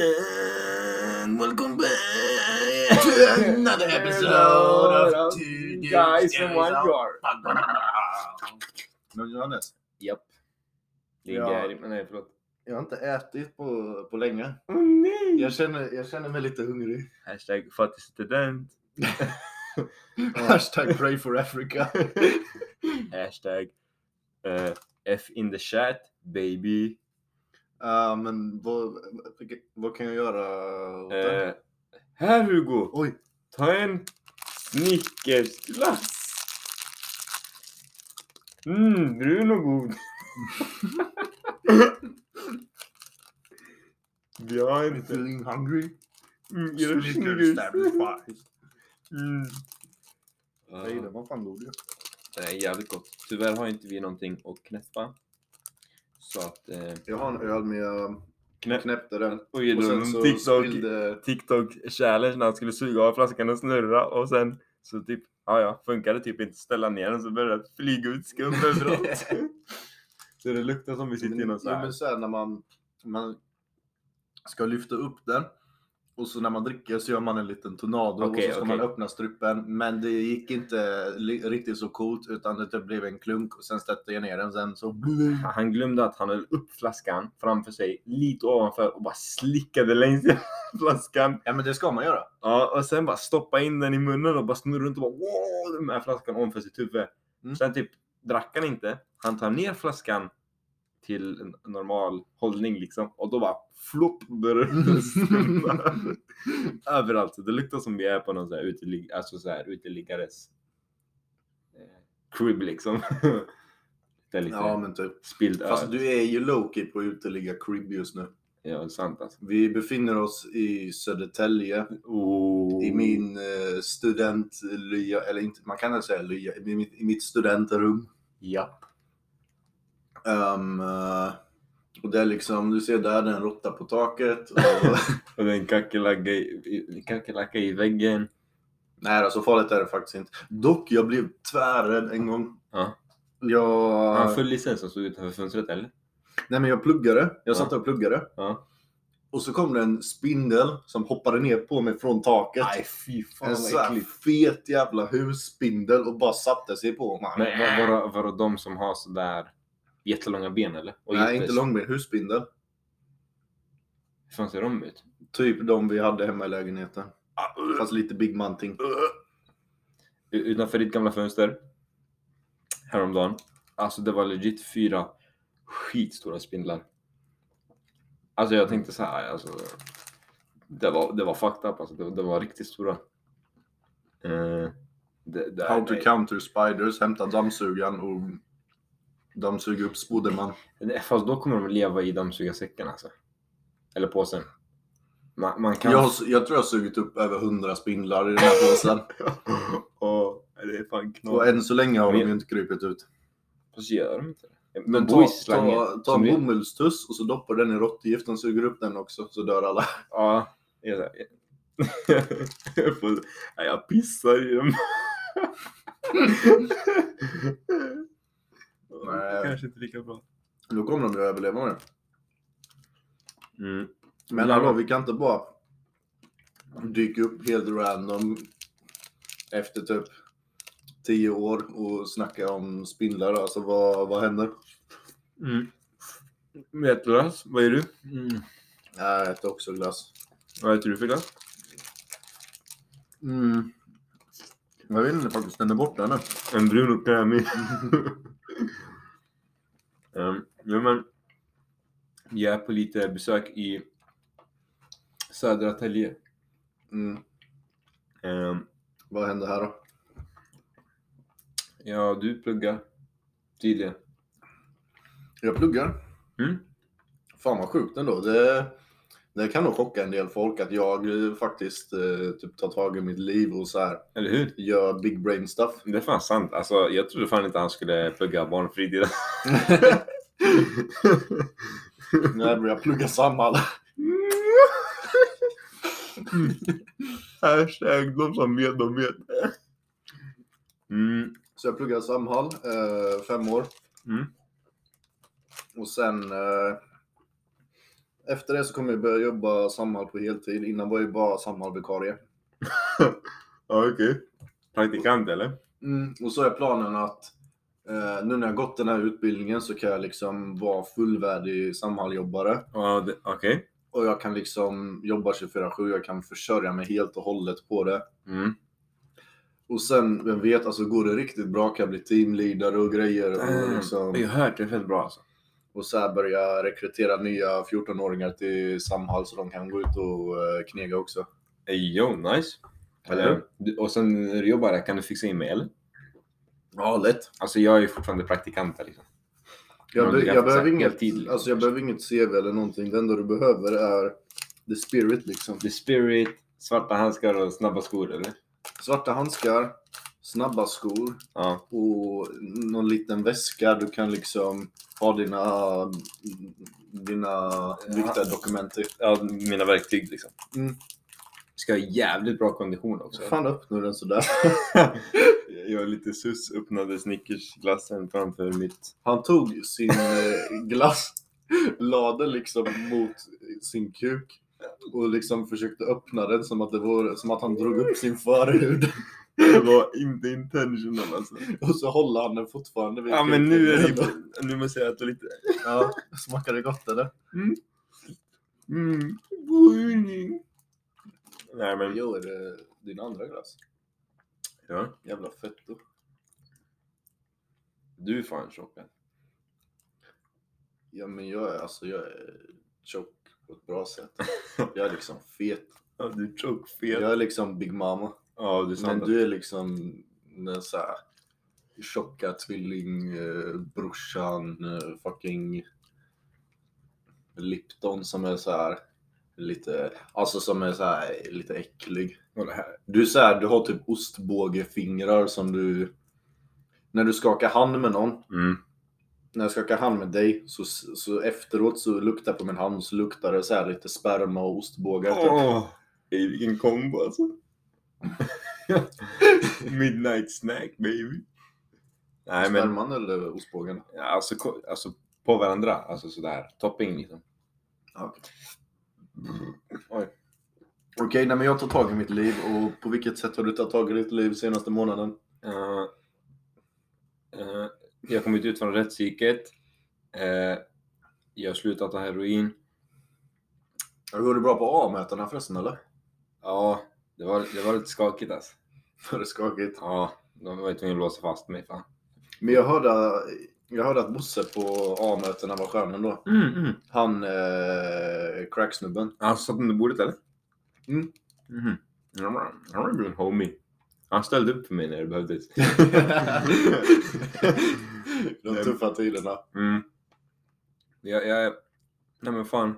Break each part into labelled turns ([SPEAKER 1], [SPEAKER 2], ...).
[SPEAKER 1] And welcome back to another episode of Two Dudes
[SPEAKER 2] Guys in One Jar.
[SPEAKER 1] Men Johannes,
[SPEAKER 2] Japp. Det är
[SPEAKER 1] Ja.
[SPEAKER 2] Gary, men nej förlåt.
[SPEAKER 1] jag har inte ätit på, på länge.
[SPEAKER 2] Åh nej!
[SPEAKER 1] Jag känner, jag känner mig lite hungrig.
[SPEAKER 2] Hashtag fattig student.
[SPEAKER 1] Hashtag pray for Africa.
[SPEAKER 2] Hashtag eh, F in the chat baby.
[SPEAKER 1] Ja, men vad, vad kan jag göra åt det?
[SPEAKER 2] Eh, här Hugo!
[SPEAKER 1] Oj,
[SPEAKER 2] Ta en Snickersglass. Mm, brun och god. Vi har
[SPEAKER 1] I'm
[SPEAKER 2] inte.
[SPEAKER 1] feeling hungry.
[SPEAKER 2] Mm, gör
[SPEAKER 1] Snickers
[SPEAKER 2] Snickers.
[SPEAKER 1] stabbed flies.
[SPEAKER 2] Mm.
[SPEAKER 1] Nej, den var fan god ju.
[SPEAKER 2] Det är jävligt gott. Tyvärr har inte vi någonting att knäppa. Så att... Eh,
[SPEAKER 1] Jag har en öl men jag
[SPEAKER 2] knäpp.
[SPEAKER 1] knäppte den.
[SPEAKER 2] Och gjorde
[SPEAKER 1] Och sen
[SPEAKER 2] någon
[SPEAKER 1] så
[SPEAKER 2] TikTok,
[SPEAKER 1] spillde...
[SPEAKER 2] TikTok challenge när han skulle suga av flaskan och snurra och sen så typ, ja ja, funkade typ inte ställa ner den så började det flyga ut skum överallt. så det luktar som vi sitter i någon så
[SPEAKER 1] Jo,
[SPEAKER 2] här.
[SPEAKER 1] men sen när man, man ska lyfta upp den och så när man dricker så gör man en liten tornado och
[SPEAKER 2] Okej,
[SPEAKER 1] så ska
[SPEAKER 2] okej.
[SPEAKER 1] man öppna strupen. Men det gick inte li- riktigt så coolt utan det typ blev en klunk och sen stötte jag ner den sen så...
[SPEAKER 2] Han glömde att han höll upp flaskan framför sig lite ovanför och bara slickade längs hela flaskan.
[SPEAKER 1] Ja men det ska man göra.
[SPEAKER 2] Ja, och sen bara stoppa in den i munnen och bara snurra runt och bara wow, med flaskan ovanför sitt huvud.
[SPEAKER 1] Mm.
[SPEAKER 2] Sen typ drack han inte. Han tar ner flaskan till en normal hållning liksom och då bara flopp börjar den snurra. Överallt. Så Det luktar som vi är på någon så här, utelig- alltså så här uteliggares eh, crib liksom. det är lite
[SPEAKER 1] Ja men typ.
[SPEAKER 2] spilld öl.
[SPEAKER 1] Fast du är ju lowkey på uteligga crib just nu.
[SPEAKER 2] Ja, det är sant alltså.
[SPEAKER 1] Vi befinner oss i Södertälje.
[SPEAKER 2] Oh.
[SPEAKER 1] I min eh, studentlya, eller inte, man kan väl säga lya, i mitt, i mitt studentrum.
[SPEAKER 2] Japp.
[SPEAKER 1] Ehm, eh, och det är liksom, du ser där, det är en råtta på taket. Och,
[SPEAKER 2] Och den kackerlacka i, kackerlacka i väggen.
[SPEAKER 1] nej då, så farligt är det faktiskt inte. Dock, jag blev tvärrädd en gång.
[SPEAKER 2] Ja.
[SPEAKER 1] Jag,
[SPEAKER 2] Han full licens och stod utanför fönstret eller?
[SPEAKER 1] nej, men jag pluggade, jag
[SPEAKER 2] Ja.
[SPEAKER 1] satt och pluggade.
[SPEAKER 2] Ja.
[SPEAKER 1] Och så kom det en spindel som hoppade ner på mig från taket.
[SPEAKER 2] fy
[SPEAKER 1] en sån här fet jävla husspindel och bara satte sig på mig.
[SPEAKER 2] Men var, var, var det de som har sådär jättelånga ben eller? Och
[SPEAKER 1] Nej,
[SPEAKER 2] jätte-
[SPEAKER 1] inte långben, husspindel.
[SPEAKER 2] Hur fan ser de ut?
[SPEAKER 1] Typ de vi hade hemma i lägenheten. Fast lite Big Man-ting.
[SPEAKER 2] U- Utanför ditt gamla fönster häromdagen. Alltså det var legit fyra skitstora spindlar. Alltså jag tänkte så här, alltså. Det var, det var fucked up alltså. Det, det var riktigt stora. Eh, det, det,
[SPEAKER 1] How to counter spiders, hämta dammsugaren och dammsuga upp Spoderman.
[SPEAKER 2] Nej, Fast då kommer de leva i dammsugarsäcken alltså. Eller påsen. Man, man kan...
[SPEAKER 1] Jag, har- jag tror jag har sugit upp över 100 spindlar i den här påsen.
[SPEAKER 2] Åh, det är fan
[SPEAKER 1] Och än så länge har de
[SPEAKER 2] Men-
[SPEAKER 1] ju inte krypit ut.
[SPEAKER 2] Fast gör de inte det?
[SPEAKER 1] Men
[SPEAKER 2] De bor
[SPEAKER 1] ta,
[SPEAKER 2] i slangen.
[SPEAKER 1] ta, ta
[SPEAKER 2] som
[SPEAKER 1] en
[SPEAKER 2] vi-
[SPEAKER 1] bomullstuss och så doppar den i råttgift. De suger upp den också, så dör alla.
[SPEAKER 2] Ja. det är så här. Jag får- Nej, jag pissar i dem.
[SPEAKER 1] Nej.
[SPEAKER 2] Kanske inte lika bra.
[SPEAKER 1] Då kommer de ju att överleva nu.
[SPEAKER 2] Mm.
[SPEAKER 1] Men
[SPEAKER 2] Ja.
[SPEAKER 1] hallå, vi kan inte bara dyka upp helt random efter typ 10 år och snacka om spindlar. Alltså vad, vad händer?
[SPEAKER 2] Mm. Vetlös, vad är du?
[SPEAKER 1] Jag äter också glass.
[SPEAKER 2] Vad äter du för glass?
[SPEAKER 1] Mm. Jag vet inte faktiskt, den är borta nu. Mm.
[SPEAKER 2] En brun och krämig. um, ja, men, vi är på lite besök i södra Tälje.
[SPEAKER 1] Mm.
[SPEAKER 2] Ehm,
[SPEAKER 1] Vad händer här då?
[SPEAKER 2] ja, du pluggar tydligen.
[SPEAKER 1] Jag pluggar.
[SPEAKER 2] Mm.
[SPEAKER 1] Fan vad sjukt ändå. Det, det kan nog chocka en del folk att jag eh, faktiskt eh, typ tar tag i mitt liv och så här
[SPEAKER 2] Eller hur?
[SPEAKER 1] gör big brain stuff.
[SPEAKER 2] Det är fan sant. Alltså, jag trodde fan inte han skulle plugga barnfritid.
[SPEAKER 1] När jag börjar plugga Samhall. Mm.
[SPEAKER 2] Hashtag de som vet, de vet. Mm.
[SPEAKER 1] Så jag pluggade Samhall, eh, fem år.
[SPEAKER 2] Mm.
[SPEAKER 1] Och sen eh, efter det så kommer jag börja jobba Samhall på heltid. Innan var jag bara Samhallvikarie.
[SPEAKER 2] Ja, okej. Praktikant eller?
[SPEAKER 1] Mm, och så är planen att eh, nu när jag gått den här utbildningen så kan jag liksom vara fullvärdig Samhalljobbare.
[SPEAKER 2] Ja, det- okej.
[SPEAKER 1] Och jag kan liksom jobba 24-7, jag kan försörja mig helt och hållet på det.
[SPEAKER 2] Mm.
[SPEAKER 1] Och sen, vem vet, alltså går det riktigt bra kan jag bli teamleader och grejer. Och,
[SPEAKER 2] Damn. Ehm, Jag
[SPEAKER 1] liksom,
[SPEAKER 2] har hört det är fett bra alltså.
[SPEAKER 1] och så här börja rekrytera nya 14-åringar till Samhall så de kan gå ut och eh, knega också.
[SPEAKER 2] Ey, yo, Eh, nice. Eller? Du, och sen när du jobbar där, kan du fixa in mig eller?
[SPEAKER 1] Ja, lätt.
[SPEAKER 2] Alltså jag är ju fortfarande praktikant där liksom.
[SPEAKER 1] Jag,
[SPEAKER 2] Men
[SPEAKER 1] be,
[SPEAKER 2] du kan
[SPEAKER 1] jag,
[SPEAKER 2] få så här
[SPEAKER 1] behöver inget,
[SPEAKER 2] heltid, liksom,
[SPEAKER 1] alltså jag
[SPEAKER 2] kanske.
[SPEAKER 1] behöver inget CV eller någonting. Det enda du behöver är the spirit liksom.
[SPEAKER 2] The spirit, svarta handskar och snabba skor eller?
[SPEAKER 1] Svarta handskar, snabba skor
[SPEAKER 2] Ja.
[SPEAKER 1] och någon liten väska. Du kan liksom ha dina, dina viktardokument i.
[SPEAKER 2] ja, mina verktyg liksom.
[SPEAKER 1] Mm.
[SPEAKER 2] Ska ha jävligt bra kondition också.
[SPEAKER 1] Fan öppnar du den sådär?
[SPEAKER 2] jag är lite sus, öppnade snickersglassen framför mitt...
[SPEAKER 1] Han tog sin eh, glass, lade liksom mot sin kuk och liksom försökte öppna den som att, det var, som att han drog upp sin förhud.
[SPEAKER 2] Det var inte intentional alltså.
[SPEAKER 1] Och så håller han den fortfarande vid
[SPEAKER 2] Ja men nu är det
[SPEAKER 1] kuken.
[SPEAKER 2] ju- Nu måste jag äta lite...
[SPEAKER 1] Ja, smakar det gott eller?
[SPEAKER 2] Mm. boning. Nej men...
[SPEAKER 1] Jo, är det din andra glass?
[SPEAKER 2] Ja.
[SPEAKER 1] Jävla fetto.
[SPEAKER 2] Du är fan tjocken.
[SPEAKER 1] Ja men jag är alltså, jag är tjock på ett bra sätt. Jag är liksom fet.
[SPEAKER 2] Ja, du är tjockfet.
[SPEAKER 1] Jag är liksom Big Mama.
[SPEAKER 2] Ja, du är
[SPEAKER 1] Men
[SPEAKER 2] sant.
[SPEAKER 1] du är liksom den så här tjocka tvillingbrorsan, eh, fucking Lipton som är så här lite, alltså som är så här lite äcklig.
[SPEAKER 2] Och det här.
[SPEAKER 1] Du är så här, du har typ ostbågefingrar som du... När du skakar hand med någon,
[SPEAKER 2] Mm.
[SPEAKER 1] när jag skakar hand med dig, så, så efteråt så luktar på min hand så luktar det så här lite sperma och ostbågar. typ.
[SPEAKER 2] Åh! ey, Vilken kombo alltså. Midnight snack baby. Nej men...
[SPEAKER 1] Sperman eller ostbågen?
[SPEAKER 2] Ja, Alltså, ko- alltså på varandra, alltså sådär. Topping liksom.
[SPEAKER 1] Ja, Okej,
[SPEAKER 2] Oj.
[SPEAKER 1] Okej, nej men jag tar tag i mitt liv och på vilket sätt har du tagit tag i ditt liv senaste månaden?
[SPEAKER 2] Eh, eh, jag har kommit ut från rättspsyket. Eh, jag har slutat ta heroin.
[SPEAKER 1] Går det bra på A-mätarna förresten eller?
[SPEAKER 2] Ja, det var, det var lite skakigt alltså.
[SPEAKER 1] Var det skakigt?
[SPEAKER 2] Ja, de var ju tvungna att låsa fast mig fan.
[SPEAKER 1] Men jag hörde, jag hörde att Bosse på A-mötena var skön ändå.
[SPEAKER 2] Mm, mm.
[SPEAKER 1] Han, eh, cracksnubben.
[SPEAKER 2] Han satt under bordet eller?
[SPEAKER 1] Mm.
[SPEAKER 2] Mhm. Han var- Han var ju en homie. Han ställde upp för mig när det behövdes.
[SPEAKER 1] De tuffa tiderna.
[SPEAKER 2] Mm. Jag, jag, nej men fan.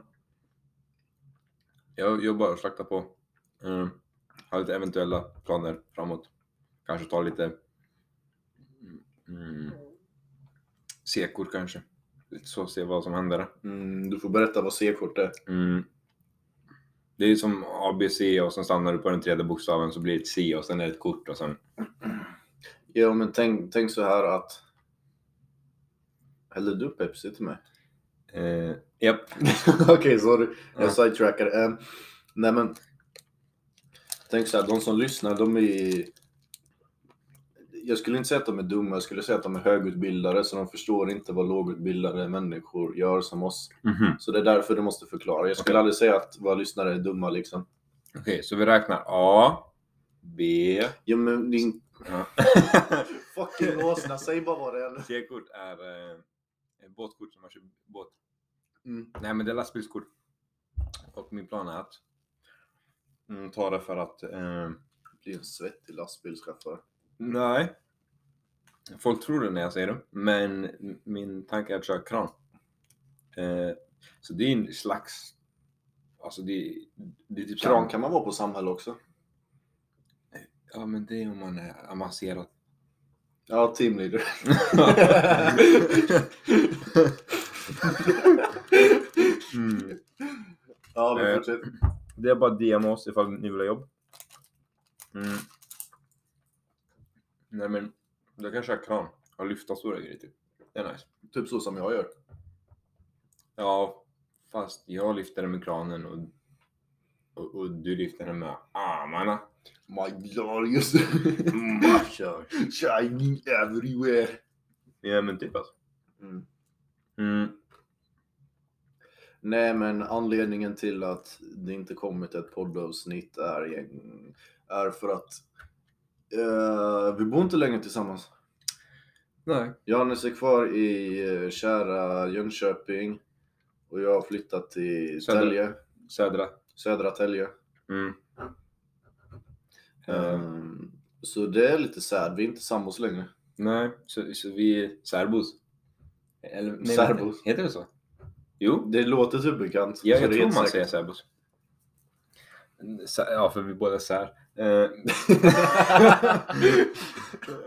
[SPEAKER 2] Jag jobbar och slaktar på. Mm. Har lite eventuella planer framåt. Kanske ta lite mm, sekor kanske. Lite så, se vad som händer.
[SPEAKER 1] Mm, du får berätta vad C-kort är.
[SPEAKER 2] Mm. Det är ju som ABC och sen stannar du på den tredje bokstaven så blir det ett C och sen är det ett kort och sen...
[SPEAKER 1] Ja, men tänk, tänk så här att... Häller du Pepsi till mig?
[SPEAKER 2] Eh, japp.
[SPEAKER 1] Okej, sorry.
[SPEAKER 2] Ja.
[SPEAKER 1] Jag sidetrackade. Um, nej, men... Tänk så här, de som lyssnar, de är... Jag skulle inte säga att de är dumma, jag skulle säga att de är högutbildade, så de förstår inte vad lågutbildade människor gör som oss.
[SPEAKER 2] Mhm.
[SPEAKER 1] Så det är därför du måste förklara. Jag skulle
[SPEAKER 2] Okej.
[SPEAKER 1] aldrig säga att våra lyssnare är dumma, liksom.
[SPEAKER 2] Okej, så vi räknar A, B...
[SPEAKER 1] Ja, men din
[SPEAKER 2] Ja.
[SPEAKER 1] fucking åsna, säg bara vad det är.
[SPEAKER 2] C-kort är eh, ett båtkort som man köper båt.
[SPEAKER 1] Mm.
[SPEAKER 2] Nej men det är lastbilskort. Och min plan är att mm, ta det för att... Eh,
[SPEAKER 1] Blir en svettig lastbilschaufför.
[SPEAKER 2] nej. Folk tror det när jag säger det. Men m- min tanke är att köra kran. Eh, så det är en slags... Alltså det, det är typ
[SPEAKER 1] Kran kan man vara på samhälle också.
[SPEAKER 2] Ja men det är om man är avancerad.
[SPEAKER 1] Ja, teamleader.
[SPEAKER 2] mm.
[SPEAKER 1] Ja, men
[SPEAKER 2] Eh.
[SPEAKER 1] fortsätt.
[SPEAKER 2] Det är bara att DM oss ifall ni vill ha jobb. Mm. Nej men, då kan jag köra kran typ. och lyfta stora grejer typ. Det är nice.
[SPEAKER 1] Typ så som jag gör.
[SPEAKER 2] Ja, Fast jag lyfter den med kranen och, och, och du lyfter den med armarna.
[SPEAKER 1] My God, just det.
[SPEAKER 2] Macho.
[SPEAKER 1] Shining everywhere.
[SPEAKER 2] Ja men typ alltså.
[SPEAKER 1] Mm.
[SPEAKER 2] Mm.
[SPEAKER 1] Nej, men anledningen till att det inte kommit ett poddavsnitt är, gäng- är för att eh, vi bor inte längre tillsammans.
[SPEAKER 2] Nej.
[SPEAKER 1] Johannes är kvar i eh, kära Jönköping och jag har flyttat till
[SPEAKER 2] Södra.
[SPEAKER 1] Tälje,
[SPEAKER 2] Södra.
[SPEAKER 1] södra Tälje.
[SPEAKER 2] Mm.
[SPEAKER 1] Eh,
[SPEAKER 2] Eh,
[SPEAKER 1] Så det är lite sad, vi är inte sambos längre.
[SPEAKER 2] nej, så, så vi är särbos. Eller, nej,
[SPEAKER 1] Särbos?
[SPEAKER 2] Heter det så? Jo.
[SPEAKER 1] Det låter typ bekant.
[SPEAKER 2] Ja,
[SPEAKER 1] så
[SPEAKER 2] jag
[SPEAKER 1] det är
[SPEAKER 2] tror
[SPEAKER 1] inte
[SPEAKER 2] man säger
[SPEAKER 1] säkert.
[SPEAKER 2] särbos. Sä- Mm, Ja, för vi båda är sär. Eh,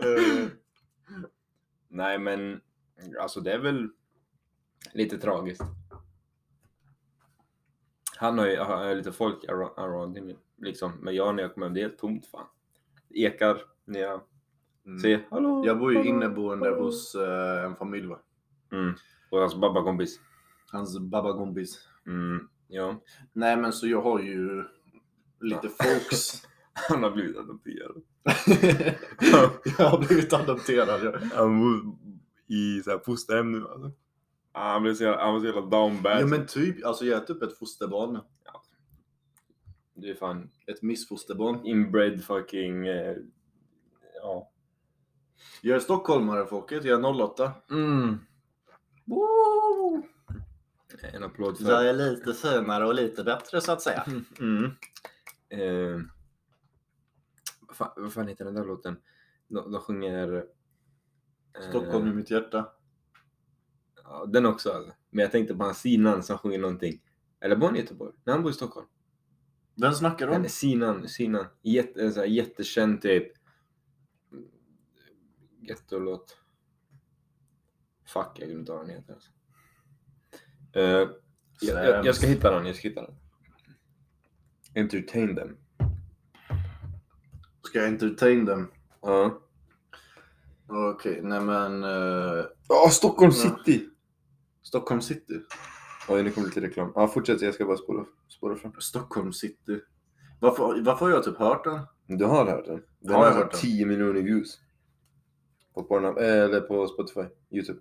[SPEAKER 2] Eh,
[SPEAKER 1] Ehm,
[SPEAKER 2] Nej, men alltså det är väl lite tragiskt. Han har ju har, har lite folk ar- around him, liksom. Men jag när jag kommer hem, det är helt tomt fan. Det ekar när jag
[SPEAKER 1] Mm.
[SPEAKER 2] säger hallå.
[SPEAKER 1] Jag bor ju
[SPEAKER 2] hallå,
[SPEAKER 1] inneboende
[SPEAKER 2] hallå."
[SPEAKER 1] hos eh, en familj va?
[SPEAKER 2] Mm. Och hans babbakompis.
[SPEAKER 1] Hans babagompis.
[SPEAKER 2] Mm. Ja,
[SPEAKER 1] Nej men så jag har ju lite folks.
[SPEAKER 2] han har blivit adopterad.
[SPEAKER 1] jag har blivit adopterad. ja.
[SPEAKER 2] Han bor i så här fosterhem nu alltså. Ah, Han blev så jävla, han var så jävla down bad.
[SPEAKER 1] Ja men typ, alltså jag är typ ett fosterbarn.
[SPEAKER 2] Du är fan
[SPEAKER 1] Ett missfosterbarn.
[SPEAKER 2] inbred fucking... Eh, ja.
[SPEAKER 1] Jag är stockholmare folket, jag är 08.
[SPEAKER 2] Mm. En applåd för...
[SPEAKER 1] är lite finare och lite bättre så att säga.
[SPEAKER 2] Mm. Eh, vad fan, vad fan heter den där låten? De, de sjunger... eh,
[SPEAKER 1] Stockholm i mitt hjärta.
[SPEAKER 2] ja, den också alltså. Men jag tänkte på han Sinan som sjunger någonting. Eller bor han i Göteborg? Nej, han bor i Stockholm.
[SPEAKER 1] Vem snackar du om?
[SPEAKER 2] Men Sinan, Sinan. Jätte, en sån här jättekänd typ. Gettolåt. Fuck, jag glömde inte vad den heter. Alltså. Eh, jag, jag,
[SPEAKER 1] Ehm,
[SPEAKER 2] jag ska hitta den, jag ska hitta den. Entertain them.
[SPEAKER 1] Ska jag entertain dem?
[SPEAKER 2] Ja.
[SPEAKER 1] Okej, nej men... eh,
[SPEAKER 2] Ja, Stockholm
[SPEAKER 1] Ja.
[SPEAKER 2] city!
[SPEAKER 1] Stockholm city.
[SPEAKER 2] Oj, nu kommer lite reklam. Ja, fortsätt, jag ska bara spåra, spåra fram.
[SPEAKER 1] Stockholm city. Varför, varför har jag typ hört den?
[SPEAKER 2] Du har hört den? Den
[SPEAKER 1] Har
[SPEAKER 2] har
[SPEAKER 1] jag
[SPEAKER 2] alltså
[SPEAKER 1] hört den?
[SPEAKER 2] 10 miljoner views. På, Pornhub, eller på Spotify, Youtube.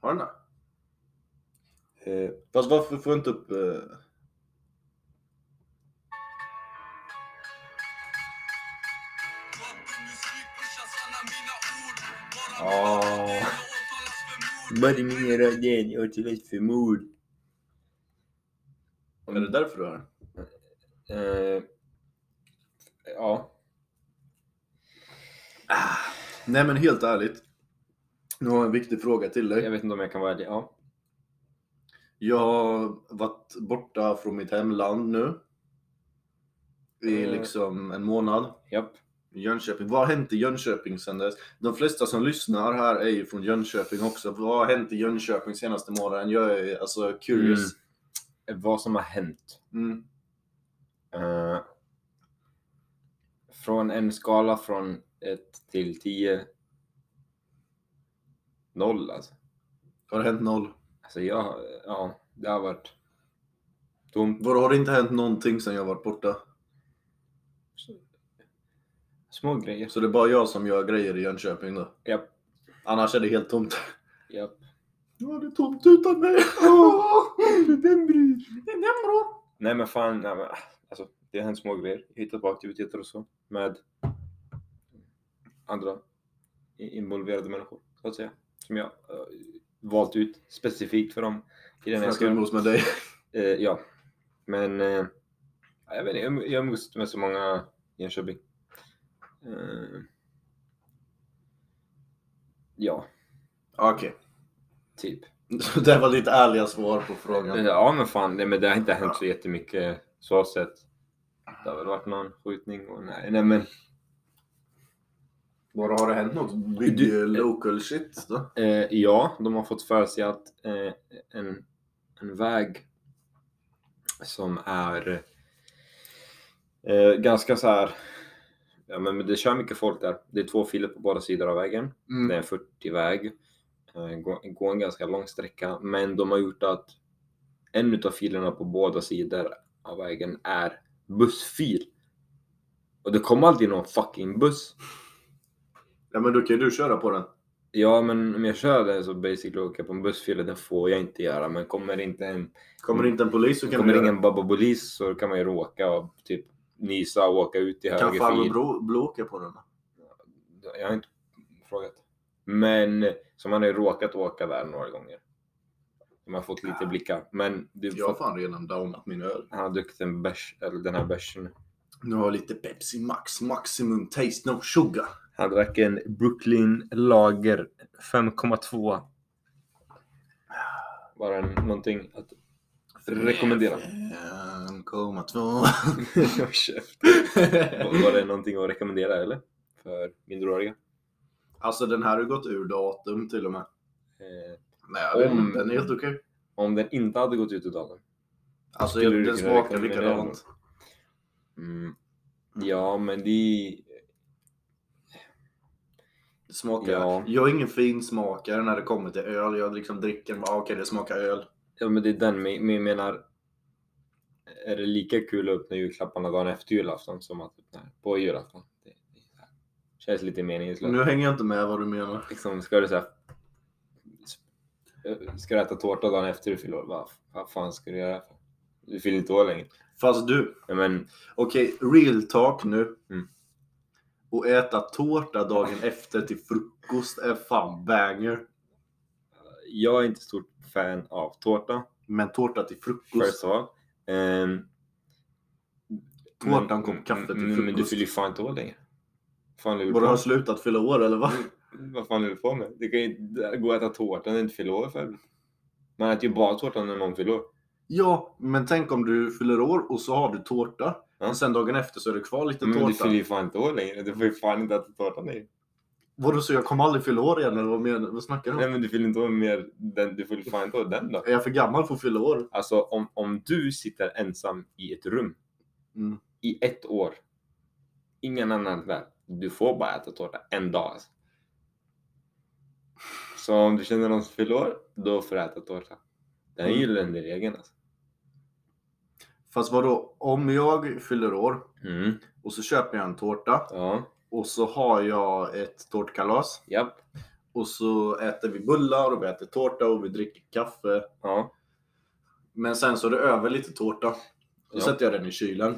[SPEAKER 1] Har den det?
[SPEAKER 2] Eh,
[SPEAKER 1] Fast varför får jag inte upp... eh,
[SPEAKER 2] Ja. Bara min radion, jag har tillräckligt för mord. Mm.
[SPEAKER 1] Är det därför du har den?
[SPEAKER 2] Eh, ja.
[SPEAKER 1] Nej men helt ärligt. Nu har jag en viktig fråga till
[SPEAKER 2] Jag
[SPEAKER 1] dig.
[SPEAKER 2] vet inte om jag kan vara ärlig. Ja.
[SPEAKER 1] Jag har varit borta från mitt hemland nu. I
[SPEAKER 2] Eh.
[SPEAKER 1] liksom en månad.
[SPEAKER 2] Japp.
[SPEAKER 1] Jönköping. Vad har hänt i Jönköping sen dess? De flesta som lyssnar här är ju från Jönköping också. Vad har hänt i Jönköping senaste månaden? Jag är alltså curious.
[SPEAKER 2] Vad som har hänt.
[SPEAKER 1] Mm.
[SPEAKER 2] Eh, från en skala från 1 till 10. 0 alltså.
[SPEAKER 1] Har det hänt noll?
[SPEAKER 2] Alltså jag, ja, det har varit tomt.
[SPEAKER 1] Vadå, har det inte hänt någonting sen jag varit borta?
[SPEAKER 2] Små grejer.
[SPEAKER 1] Så det är bara jag som gör grejer i Jönköping då?
[SPEAKER 2] Japp,
[SPEAKER 1] Annars är det helt tomt.
[SPEAKER 2] japp.
[SPEAKER 1] Ja, det är tomt utan mig.
[SPEAKER 2] Den bryr Den bra. Nej men fan, nej, men, alltså, det har hänt små grejer. Jag hittar på aktiviteter och så med andra i- involverade människor, så att säga. Som jag eh, valt ut specifikt för dem i den
[SPEAKER 1] För
[SPEAKER 2] här
[SPEAKER 1] att umgås med dig.
[SPEAKER 2] Eh, ja, men eh, jag vet inte, jag um- jag umgås inte med så många i Jönköping. Eh, ja,
[SPEAKER 1] Okej.
[SPEAKER 2] typ.
[SPEAKER 1] Det var ditt ärliga svar på frågan.
[SPEAKER 2] Eh, Ja men fan, nej, men det har inte hänt så jättemycket så sett. Det har väl varit någon skjutning och nej, nej men.
[SPEAKER 1] Vadå, har det hänt något? Big
[SPEAKER 2] Du-
[SPEAKER 1] eh, local shit då?
[SPEAKER 2] Eh, ja, de har fått för sig att eh, en, en väg som är eh, ganska så här.
[SPEAKER 1] Mm.
[SPEAKER 2] Ja men det kör mycket folk där. Det är två filer på båda sidor av vägen. Det är en 40-väg. eh, gå, gå en ganska lång sträcka. Men de har gjort att en av filerna på båda sidor av vägen är bussfil. Och det kommer alltid någon fucking buss.
[SPEAKER 1] Ja men då kan ju du köra på den.
[SPEAKER 2] Ja, men om jag kör den så basically åker jag på en bussfil och den får jag inte göra. Men kommer inte en
[SPEAKER 1] Kommer inte en polis så kan
[SPEAKER 2] Kommer
[SPEAKER 1] du göra
[SPEAKER 2] ingen bababolis så kan man ju råka och typ nysa och åka ut i
[SPEAKER 1] det. Kan
[SPEAKER 2] höger
[SPEAKER 1] farbror
[SPEAKER 2] fil.
[SPEAKER 1] Blå- Blå åka på den?
[SPEAKER 2] Jag har inte frågat. Men som man har ju råkat åka där några gånger. Man har fått lite
[SPEAKER 1] Ja.
[SPEAKER 2] blickar. Men du
[SPEAKER 1] Jag har
[SPEAKER 2] fatt-
[SPEAKER 1] fan redan downat min öl.
[SPEAKER 2] han har druckit en bärs, eller den här bärsen.
[SPEAKER 1] Nu har jag lite Pepsi Max, Maximum Taste No Sugar.
[SPEAKER 2] Han drack en Brooklyn Lager 5,2. Bara en, någonting att rekommendera.
[SPEAKER 1] 5,2.
[SPEAKER 2] Käft. Var det någonting att rekommendera eller? För minderåriga?
[SPEAKER 1] alltså den här har ju gått ur datum till och med.
[SPEAKER 2] Eh,
[SPEAKER 1] Nej, jag vet
[SPEAKER 2] Om-
[SPEAKER 1] inte. Den är helt okej.
[SPEAKER 2] om den inte hade gått ut ur datorn.
[SPEAKER 1] Alltså
[SPEAKER 2] Skulle du
[SPEAKER 1] den
[SPEAKER 2] kunna
[SPEAKER 1] smakar
[SPEAKER 2] rekommendera
[SPEAKER 1] likadant.
[SPEAKER 2] Mm. Ja, men det...
[SPEAKER 1] Det smakar...
[SPEAKER 2] Ja.
[SPEAKER 1] Jag är ingen fin smakare när det kommer till öl. Jag liksom dricker den bara, okej det smakar öl.
[SPEAKER 2] Ja, men det är den. Men men jag menar... Är det lika kul att öppna julklapparna dagen efter julafton som att öppna på julafton? Det, det är så här. känns lite meningslöst.
[SPEAKER 1] Nu hänger jag inte med vad du menar.
[SPEAKER 2] Liksom, ska du säga... Ska du äta tårta dagen efter du fyller år? Vad, vad fan ska du göra? för? Du fyller inte år längre.
[SPEAKER 1] Fast du,
[SPEAKER 2] Ja, men
[SPEAKER 1] okej, real talk nu.
[SPEAKER 2] Mm.
[SPEAKER 1] Och äta tårta dagen efter till frukost är fan banger.
[SPEAKER 2] jag är inte stort fan av tårta.
[SPEAKER 1] Men tårta till frukost.
[SPEAKER 2] First of all. Ehm,
[SPEAKER 1] Tårtan,
[SPEAKER 2] men-
[SPEAKER 1] kopp kaffe till
[SPEAKER 2] men- Men du
[SPEAKER 1] frukost.
[SPEAKER 2] fyller ju fan inte år längre. Fan Mm. vill du
[SPEAKER 1] Borde
[SPEAKER 2] på
[SPEAKER 1] ha
[SPEAKER 2] med?
[SPEAKER 1] slutat fylla år eller vad?
[SPEAKER 2] Vad fan är du på med? Det kan ju inte gå att äta tårta när du inte fyller år för. Man äter ju bara tårta när någon fyller år.
[SPEAKER 1] Ja, men tänk om du fyller år och så har du tårta.
[SPEAKER 2] Ja.
[SPEAKER 1] Men sen dagen efter så är det kvar lite
[SPEAKER 2] Men du
[SPEAKER 1] tårta.
[SPEAKER 2] fyller ju fan inte år längre. Du får ju fan inte äta tårta längre.
[SPEAKER 1] Vadå, så jag kommer aldrig fylla år igen eller vad, men, vad snackar du om?
[SPEAKER 2] Nej men du fyller inte år mer. Den, du fyller fan inte år den då.
[SPEAKER 1] Är jag för gammal för att fylla år?
[SPEAKER 2] Alltså om, om du sitter ensam i ett rum
[SPEAKER 1] Mm.
[SPEAKER 2] i ett år. Ingen annan där. Du får bara äta tårta en dag. Alltså. Så om du känner någon som fyller år, då får du äta tårta. Den
[SPEAKER 1] Mm.
[SPEAKER 2] gillar den där regeln alltså.
[SPEAKER 1] Fast vadå, om jag fyller år
[SPEAKER 2] Mm.
[SPEAKER 1] och så köper jag en tårta
[SPEAKER 2] Ja,
[SPEAKER 1] och så har jag ett tårtkalas
[SPEAKER 2] japp.
[SPEAKER 1] och så äter vi bullar och vi äter tårta och vi dricker kaffe.
[SPEAKER 2] Ja.
[SPEAKER 1] Men sen så är det över lite tårta. Då
[SPEAKER 2] Ja.
[SPEAKER 1] sätter jag den i kylen.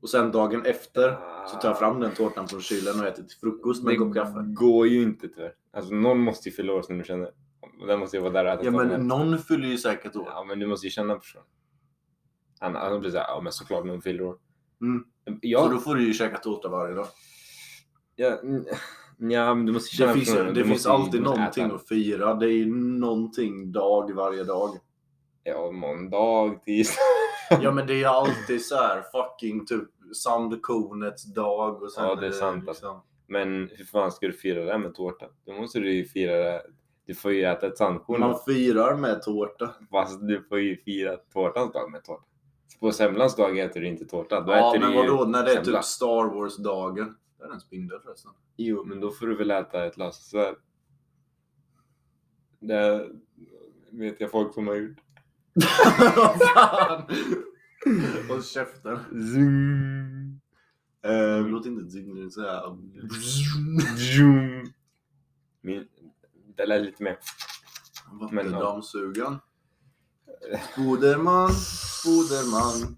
[SPEAKER 1] Och sen dagen efter så tar jag fram den tårtan från kylen och äter till frukost med en kopp
[SPEAKER 2] Det
[SPEAKER 1] kaffe.
[SPEAKER 2] går ju inte tyvärr. Alltså någon måste ju fylla år som du känner. Den måste ju vara där och äta
[SPEAKER 1] Ja
[SPEAKER 2] tårta.
[SPEAKER 1] men någon fyller ju säkert år.
[SPEAKER 2] ja, men du måste ju känna personen. Han, han blir såhär, ja men såklart någon fyller år.
[SPEAKER 1] Mm. Så
[SPEAKER 2] Ja,
[SPEAKER 1] då får du ju käka tårta varje dag.
[SPEAKER 2] ja, mm, ja, men du måste ju känna
[SPEAKER 1] Det finns,
[SPEAKER 2] personen.
[SPEAKER 1] det
[SPEAKER 2] Du
[SPEAKER 1] finns
[SPEAKER 2] måste ju-
[SPEAKER 1] alltid
[SPEAKER 2] du måste
[SPEAKER 1] någonting
[SPEAKER 2] äta.
[SPEAKER 1] att fira. Det är ju någonting dag varje dag.
[SPEAKER 2] Ja, måndag, tisdag.
[SPEAKER 1] Ja men det är ju alltid så här fucking typ sandkornets dag och sen
[SPEAKER 2] Ja, det är sant, alltså.
[SPEAKER 1] liksom.
[SPEAKER 2] Men hur fan ska du fira det med tårta? Då måste du ju fira det. Du får ju äta ett sandkorn.
[SPEAKER 1] Man firar med tårta.
[SPEAKER 2] Fast du får ju fira tårtans dag med tårta. På semlans dag äter du inte tårta. Då
[SPEAKER 1] Ja
[SPEAKER 2] äter
[SPEAKER 1] men
[SPEAKER 2] du ju...
[SPEAKER 1] vadå när det är
[SPEAKER 2] semla.
[SPEAKER 1] typ Star Wars-dagen. Det är en spindel förresten.
[SPEAKER 2] Jo, men då får du väl äta ett lassesvärd. Det vet jag folk som har gjort.
[SPEAKER 1] Fan! Håll käften.
[SPEAKER 2] Zoom.
[SPEAKER 1] Um,
[SPEAKER 2] Ehm,
[SPEAKER 1] Låt inte dygnet så här.
[SPEAKER 2] zoom. Min, det lät lite mer...
[SPEAKER 1] Vattendammsugaren. Spoderman, Spoderman.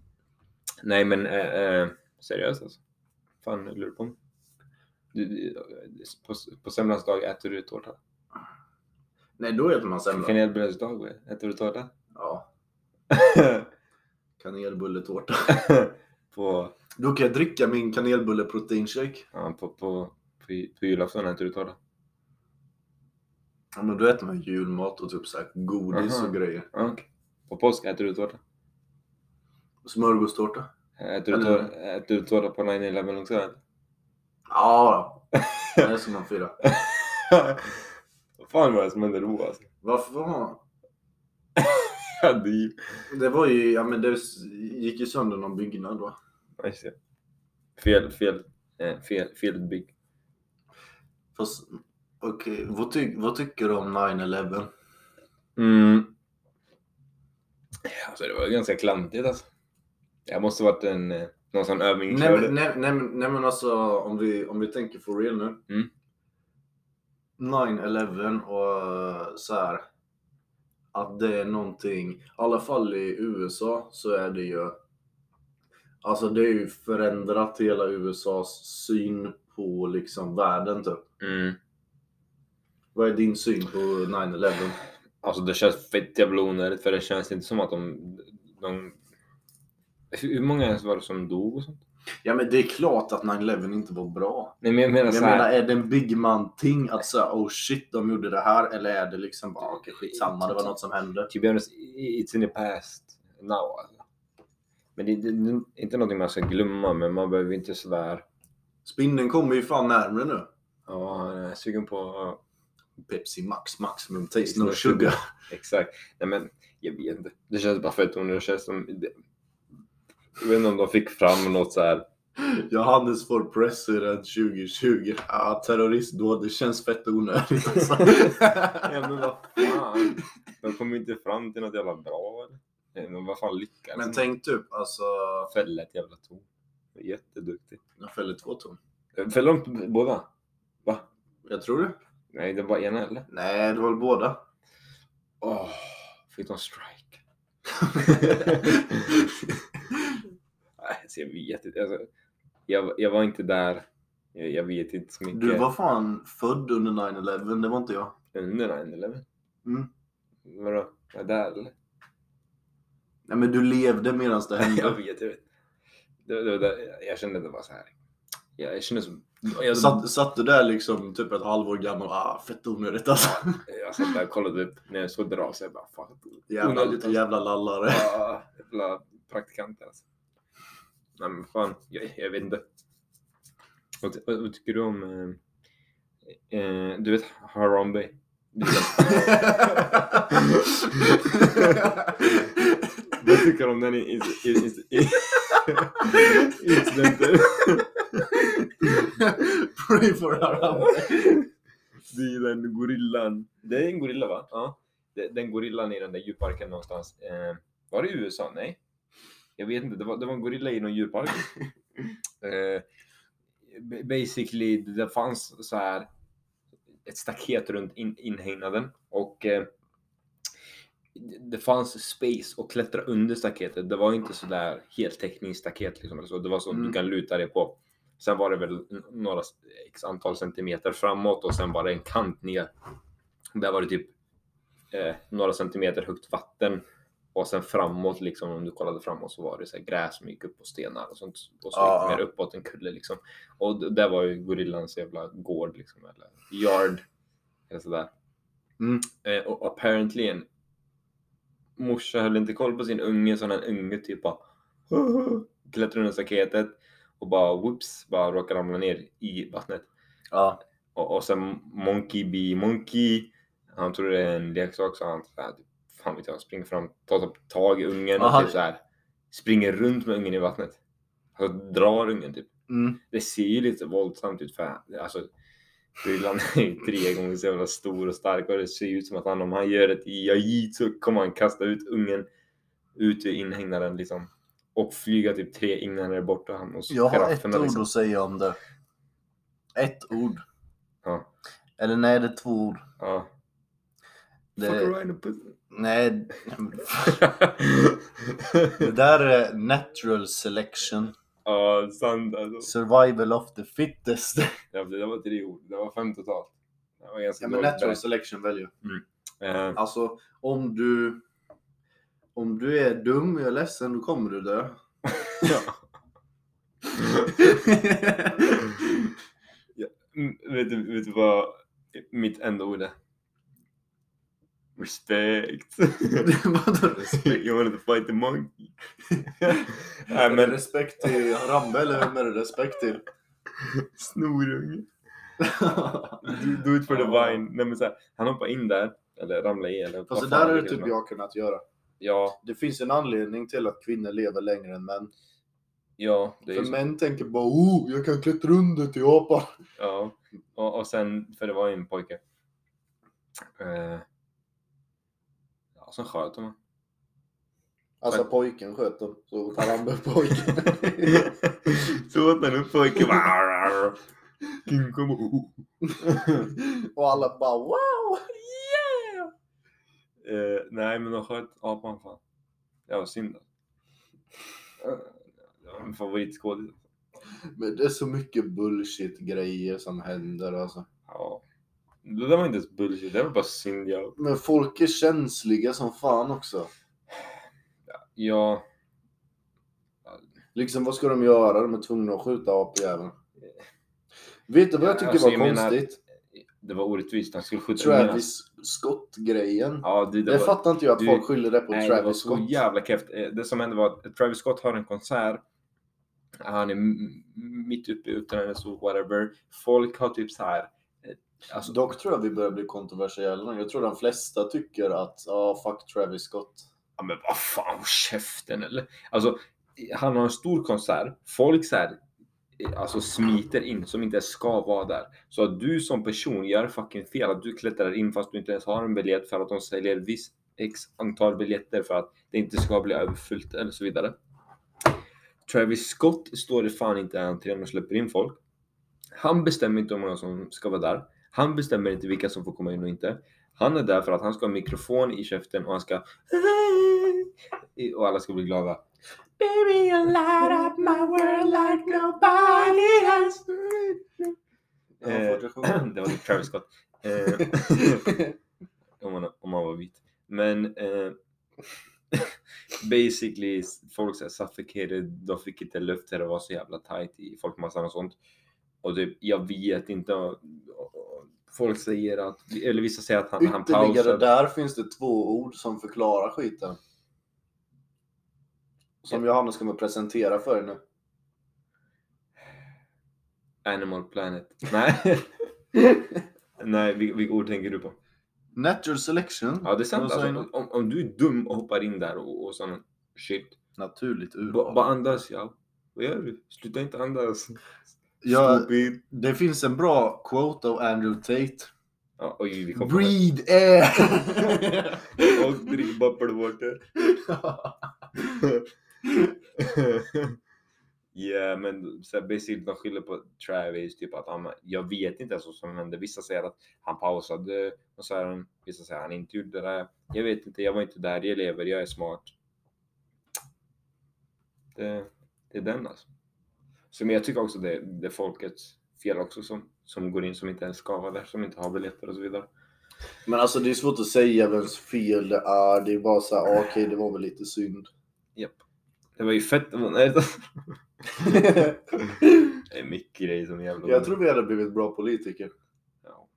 [SPEAKER 2] Nej, men eh, eh, seriöst alltså. Fan, jag lurar på mig. Du, du, på, på semlans dag äter du tårta.
[SPEAKER 1] Nej, då heter man
[SPEAKER 2] På
[SPEAKER 1] semla.
[SPEAKER 2] kanelbullens dag äter du tårta.
[SPEAKER 1] Ja, kanelbulletårta.
[SPEAKER 2] på,
[SPEAKER 1] Då kan jag dricka min kanelbulle-proteinshake.
[SPEAKER 2] ja, på, på, på, ju- på julafton äter du tårta.
[SPEAKER 1] Ja, men då äter man julmat och typ så här godis
[SPEAKER 2] Aha.
[SPEAKER 1] och grejer.
[SPEAKER 2] Ja, okej. På påsk äter du tårta.
[SPEAKER 1] Smörgåstårta.
[SPEAKER 2] Äter du,
[SPEAKER 1] Eller-
[SPEAKER 2] tårta, äter du tårta på 9-11 också? eller?
[SPEAKER 1] Ja, då. det är som man firar.
[SPEAKER 2] Vad fan var det som hände då alltså?
[SPEAKER 1] Varför? fan?
[SPEAKER 2] Ja, det är ju-
[SPEAKER 1] Det var ju, ja men det s- gick ju sönder någon byggnad va?
[SPEAKER 2] Ja, just det. Fel, fel, eh, fel, fel bygg.
[SPEAKER 1] Fast okej, Okej, vad, ty- vad tycker du om 9-11?
[SPEAKER 2] Mm. Alltså det var ganska klantigt alltså. Det måste varit en, eh, någon sån övning
[SPEAKER 1] Nej, men- nej, nej, men- nej men alltså om vi, om vi tänker for real nu.
[SPEAKER 2] Mm.
[SPEAKER 1] 9-11 och eh, så här. Att det är någonting, i alla fall i USA så är det ju. Alltså det är ju förändrat hela USAs syn på liksom världen typ.
[SPEAKER 2] Mm.
[SPEAKER 1] Vad är din syn på 9-11?
[SPEAKER 2] Alltså det känns fett jävla onödigt för det känns inte som att de... de hur hur många ens var det som dog och sånt?
[SPEAKER 1] Ja men det är klart att 9-11 inte var bra.
[SPEAKER 2] Nej men jag menar eh,
[SPEAKER 1] Jag
[SPEAKER 2] såhär.
[SPEAKER 1] menar, är det en big man-ting att säga oh shit, de gjorde det här? Eller är det liksom bara okej, skitsamma, det var något som hände?
[SPEAKER 2] To be honest, typ, i- it's in the past now. Alltså. Men det, det, det är inte någonting man ska glömma men man behöver inte sådär...
[SPEAKER 1] Spindeln kommer ju fan närmre nu.
[SPEAKER 2] Ja, jag är sugen på...
[SPEAKER 1] Pepsi Max Maximum Taste No Sugar.
[SPEAKER 2] Exakt. Nej men jag vet inte. Det känns bara fett onödigt. Det känns som... Det, jag vet inte om de fick fram något såhär...
[SPEAKER 1] Johannes for president 2020. Ah, terroristdåd, det känns fett onödigt alltså.
[SPEAKER 2] Ja men vad fan. De kom ju inte fram till något jävla bra eller? Nej, Men vad fan lyckades
[SPEAKER 1] Men
[SPEAKER 2] de?
[SPEAKER 1] tänk typ, alltså...
[SPEAKER 2] Fälla ett jävla torn. Jätteduktig.
[SPEAKER 1] Jag fäller två ton.
[SPEAKER 2] Fällde de inte båda? Va?
[SPEAKER 1] Jag tror det.
[SPEAKER 2] Nej, det var ena eller?
[SPEAKER 1] Nej, det var väl båda.
[SPEAKER 2] Åh, fick de strike? Nej, alltså, jag vet inte. Alltså, jag, jag var inte där. Jag, jag vet inte så mycket.
[SPEAKER 1] Du var fan född under 9-11, det var inte jag.
[SPEAKER 2] under 9-11?
[SPEAKER 1] Mm.
[SPEAKER 2] Vadå? Var jag där eller?
[SPEAKER 1] Nej men du levde medan det
[SPEAKER 2] Jag
[SPEAKER 1] hände.
[SPEAKER 2] vet, jag vet. Det, det, det, jag kände att det var så här. Jag, jag kände som... Jag
[SPEAKER 1] Satt, satt du där liksom typ ett halvår gammal ah fett onödigt alltså.
[SPEAKER 2] Jag satt där och kollade upp när jag såg det dra så jag bara fan.
[SPEAKER 1] Jävla,
[SPEAKER 2] Onödigt, alltså.
[SPEAKER 1] jävla lallare.
[SPEAKER 2] ah, Jävla praktikanter alltså. Nej men fan, jag, jag vet inte. Vad, ty- vad, vad tycker du om... Eh, eh, du vet Harambe? Du vet, vad tycker du om den i- i- i- i- i- incidenten?
[SPEAKER 1] Pray for Harambe.
[SPEAKER 2] Det är den gorillan. Det är en gorilla va? Ja. Det- Den gorillan i den där djurparken någonstans. Eh, var det i USA? Nej. Jag vet inte. Det var, det var en gorilla i någon djurpark. eh, ba- basically, det fanns så här ett staket runt in, inhägnaden och eh, det fanns space att klättra under staketet. Det var inte så där heltäckningsstaket liksom. eller så. Det var så
[SPEAKER 1] Mm.
[SPEAKER 2] du kan luta dig på. Sen var det väl n- några s- x antal centimeter framåt och sen var det en kant ner. Där var det typ eh, några centimeter högt vatten och sen framåt liksom om du kollade framåt så var det så här gräs som gick upp på stenar och sånt och så
[SPEAKER 1] Ja.
[SPEAKER 2] gick det mer uppåt en kulle liksom. Och d- där var ju gorillans jävla gård liksom eller yard eller sådär.
[SPEAKER 1] Mm.
[SPEAKER 2] Eh, och apparently en morsa höll inte koll på sin unge så den unge typ bara klättrade under staketet och bara whoops bara råkade ramla ner i vattnet.
[SPEAKER 1] Ja.
[SPEAKER 2] Och, och sen Monkey B Monkey. Han tror det är en leksak så han så här, typ, fan vet jag, springer fram, tar typ tag i ungen
[SPEAKER 1] Aha.
[SPEAKER 2] och typ så här, springer runt med ungen i vattnet. Alltså drar ungen typ.
[SPEAKER 1] Mm.
[SPEAKER 2] Det ser ju lite våldsamt ut för alltså Dylan är ju tre gånger så jävla stor och stark och det ser ju ut som att han, om han gör ett jajitsu kommer han kasta ut ungen ut ur inhägnaden liksom. Och flyga typ tre inhägnader bort och liksom. han och
[SPEAKER 1] Jag har ett
[SPEAKER 2] skarafferna,
[SPEAKER 1] ord att säga om det. Ett ord.
[SPEAKER 2] Ja.
[SPEAKER 1] Eller nej, det är två ord.
[SPEAKER 2] Ja.
[SPEAKER 1] Det-
[SPEAKER 2] Fuck around and put-
[SPEAKER 1] Nej, det där är natural selection.
[SPEAKER 2] Ja, sant alltså.
[SPEAKER 1] Survival of the fittest.
[SPEAKER 2] Ja, Det där var tre ord. Det var fem totalt. Det var ganska
[SPEAKER 1] Ja, men
[SPEAKER 2] dåligt
[SPEAKER 1] natural selection väljer.
[SPEAKER 2] berg. Eh,
[SPEAKER 1] Alltså, om du... Om du är dum, jag är ledsen, då kommer du dö.
[SPEAKER 2] ja. Mm, vet, du, vet du vad mitt enda ord är? Respekt.
[SPEAKER 1] Vadå respekt?
[SPEAKER 2] you wanted to fight the monkey. Nej
[SPEAKER 1] Är det
[SPEAKER 2] men
[SPEAKER 1] respekt till Rambe eller vem är det respekt till?
[SPEAKER 2] snorunge. Do, do it for the
[SPEAKER 1] Ja.
[SPEAKER 2] vine. Nej, men så här, han hoppar in där, eller ramlar i eller
[SPEAKER 1] Fast det
[SPEAKER 2] vad fan
[SPEAKER 1] där
[SPEAKER 2] han
[SPEAKER 1] är det
[SPEAKER 2] lyckas
[SPEAKER 1] typ
[SPEAKER 2] med.
[SPEAKER 1] jag kunnat göra.
[SPEAKER 2] Ja,
[SPEAKER 1] Det finns en anledning till att kvinnor lever längre än män.
[SPEAKER 2] Ja, det är
[SPEAKER 1] För
[SPEAKER 2] ju så.
[SPEAKER 1] män tänker bara oh, jag kan klättra under till apan.
[SPEAKER 2] Ja, och, och sen, för det var ju en pojke. Eh, ja, sen sköt de honom.
[SPEAKER 1] Alltså
[SPEAKER 2] Men-
[SPEAKER 1] pojken sköt dem, så tar han med pojken.
[SPEAKER 2] Så åt han upp pojken. King kom och...
[SPEAKER 1] Och alla bara wow!
[SPEAKER 2] Yeah! Eh, nej, men de sköt apan fan. Det var synd. Eh, Det var min favoritskådis.
[SPEAKER 1] Men det är så mycket bullshit grejer som händer alltså.
[SPEAKER 2] Ja. Det där var inte ens bullshit, det var bara synd. Jag...
[SPEAKER 1] Men folk är känsliga som fan också.
[SPEAKER 2] Ja,
[SPEAKER 1] Liksom vad ska de göra? De är tvungna att skjuta apjäveln. Vet du vad jag
[SPEAKER 2] Ja,
[SPEAKER 1] tycker
[SPEAKER 2] alltså,
[SPEAKER 1] var
[SPEAKER 2] jag menar-
[SPEAKER 1] konstigt?
[SPEAKER 2] det var orättvist. Han skulle skjuta
[SPEAKER 1] Travis Scott-grejen.
[SPEAKER 2] Ja, det,
[SPEAKER 1] Det,
[SPEAKER 2] det var...
[SPEAKER 1] fattar inte jag att
[SPEAKER 2] du-
[SPEAKER 1] folk skyller det på
[SPEAKER 2] Nej, det var
[SPEAKER 1] Travis
[SPEAKER 2] så
[SPEAKER 1] Scott.
[SPEAKER 2] jävla kräft. Det som hände var att Travis Scott har en konsert. Han är m- mitt uppe i utlandet så whatever. Folk har typ så här. eh, Alltså,
[SPEAKER 1] Dock tror jag vi börjar bli kontroversiella nu. Jag tror de flesta tycker att ja, fuck Travis Scott.
[SPEAKER 2] ja, men vad fan, håll käften eller? Alltså, han har en stor konsert. Folk så här, eh, alltså smiter in som inte ens ska vara där. Så att du som person gör fucking fel. Att du klättrar in fast du inte ens har en biljett för att de säljer viss x antal biljetter för att det inte ska bli överfullt eller så vidare. Travis Scott står det fan inte i entrén och släpper in folk. Han bestämmer inte hur många som ska vara där. Han bestämmer inte vilka som får komma in och inte. Han är där för att han ska ha en mikrofon i käften och han ska och alla ska bli glada. Baby, you light up my world like nobody else.
[SPEAKER 1] Ja,
[SPEAKER 2] Eh,
[SPEAKER 1] fortsätt sjunga.
[SPEAKER 2] det var typ Travis Scott. Eh, om, man, om man var vit. Men eh, basically, folk så här suffocated, de fick inte luft, det var så jävla tight i folkmassan och sånt. Och typ, jag vet inte. och- och- Folk säger att, eller vissa säger att han, han
[SPEAKER 1] Ytterligare
[SPEAKER 2] pausar.
[SPEAKER 1] där finns det två ord som förklarar skiten. Som Johannes kommer presentera för er nu.
[SPEAKER 2] Animal Planet. Nej. Nej, vil- vilka ord tänker du på?
[SPEAKER 1] Natural selection.
[SPEAKER 2] Ja, det är sant.
[SPEAKER 1] Vad sa jag
[SPEAKER 2] Alltså, om, om du är dum och hoppar in där och, och sån shit.
[SPEAKER 1] Naturligt
[SPEAKER 2] Ba-
[SPEAKER 1] urval.
[SPEAKER 2] Bara andas, ja. Vad gör du? Sluta inte andas.
[SPEAKER 1] Ja.
[SPEAKER 2] Stupid.
[SPEAKER 1] det finns en bra quote av Andrew Tate.
[SPEAKER 2] Ja, oj, vi kom på det.
[SPEAKER 1] Breathe air!
[SPEAKER 2] Och drick bubble water. Ja, men så här, basically de skyller på Travis, typ att han, jag vet inte ens vad som hände. Vissa säger att han pausade och så här, vissa säger att han inte gjorde det. Jag vet inte, jag var inte där, jag lever, jag är smart. Det, det är den alltså. Så, men jag tycker också det, det är folkets fel också som, som går in som inte ens ska vara där, som inte har biljetter och så vidare.
[SPEAKER 1] Men alltså det är svårt att säga vems fel det är. Det är bara så här, ah, okej det var väl lite synd.
[SPEAKER 2] Japp. Det var ju fett. Nej, det är mycket grejer som är jävla
[SPEAKER 1] jag tror vi hade blivit bra politiker.
[SPEAKER 2] Ja.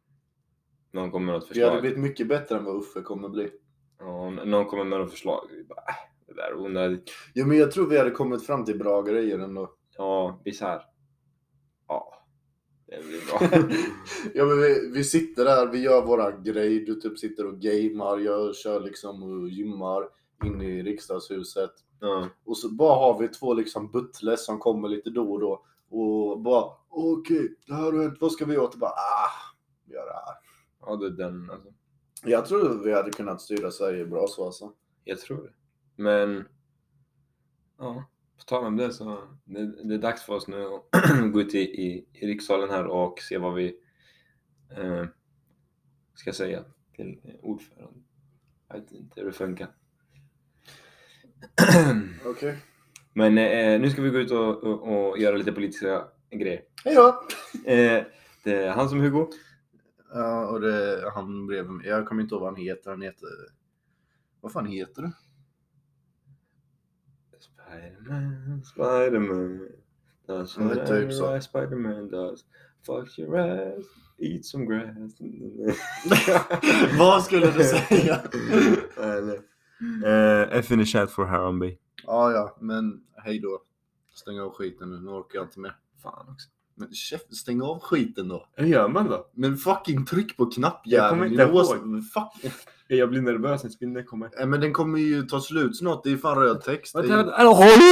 [SPEAKER 2] Någon kommer med något
[SPEAKER 1] Vi hade
[SPEAKER 2] förslag.
[SPEAKER 1] blivit mycket bättre än vad Uffe kommer bli.
[SPEAKER 2] Ja, n- någon kommer med något förslag. Vi bara, äh, det där är onödigt.
[SPEAKER 1] Ja, men jag tror vi hade kommit fram till bra grejer ändå.
[SPEAKER 2] Ja, bisarr. Ja, det blir bra.
[SPEAKER 1] Ja, men vi, vi sitter där, vi gör våra grej. Du typ sitter och gamear, jag kör liksom och gymmar in i riksdagshuset.
[SPEAKER 2] ja.
[SPEAKER 1] Och så bara har vi två liksom butlers som kommer lite då och då. Och bara okej, det här har hänt, vad ska vi göra? Och bara ah, vi gör det här.
[SPEAKER 2] ja, det är den alltså.
[SPEAKER 1] Jag tror vi hade kunnat styra Sverige bra så alltså.
[SPEAKER 2] Jag tror det. Men, ja, på tal om det så det, det är dags för oss nu att gå ut i, i, i rikssalen här och se vad vi eh, ska säga till ordföranden. Jag vet inte hur det funkar.
[SPEAKER 1] Okej.
[SPEAKER 2] Men eh, nu ska vi gå ut och, och, och göra lite politiska grejer.
[SPEAKER 1] Hej då!
[SPEAKER 2] Eh, det är han som Hugo.
[SPEAKER 1] Ja, och det, han bredvid mig. Jag kommer inte ihåg vad han heter. Han heter... Vad fan heter du?
[SPEAKER 2] Spiderman, Spiderman. Does
[SPEAKER 1] Ja, det är typ så.
[SPEAKER 2] whatever Spiderman does. Fuck your ass, eat some grass.
[SPEAKER 1] vad skulle du säga?
[SPEAKER 2] Nej, nej. Eh, F in the chat for Harambe.
[SPEAKER 1] ja, ja, men hej då. Stäng av skiten nu, nu orkar jag inte mer.
[SPEAKER 2] Fan också.
[SPEAKER 1] Men chef, stäng av skiten då.
[SPEAKER 2] Hur gör man då?
[SPEAKER 1] Men fucking tryck på
[SPEAKER 2] Jag kommer
[SPEAKER 1] knappjäveln.
[SPEAKER 2] inte
[SPEAKER 1] i lås-
[SPEAKER 2] ihåg.
[SPEAKER 1] Fuck. Eh,
[SPEAKER 2] Jag blir nervös när spindeln kommer.
[SPEAKER 1] Nej, men den kommer ju ta slut snart. Det är fan röd text. Det är-
[SPEAKER 2] Håll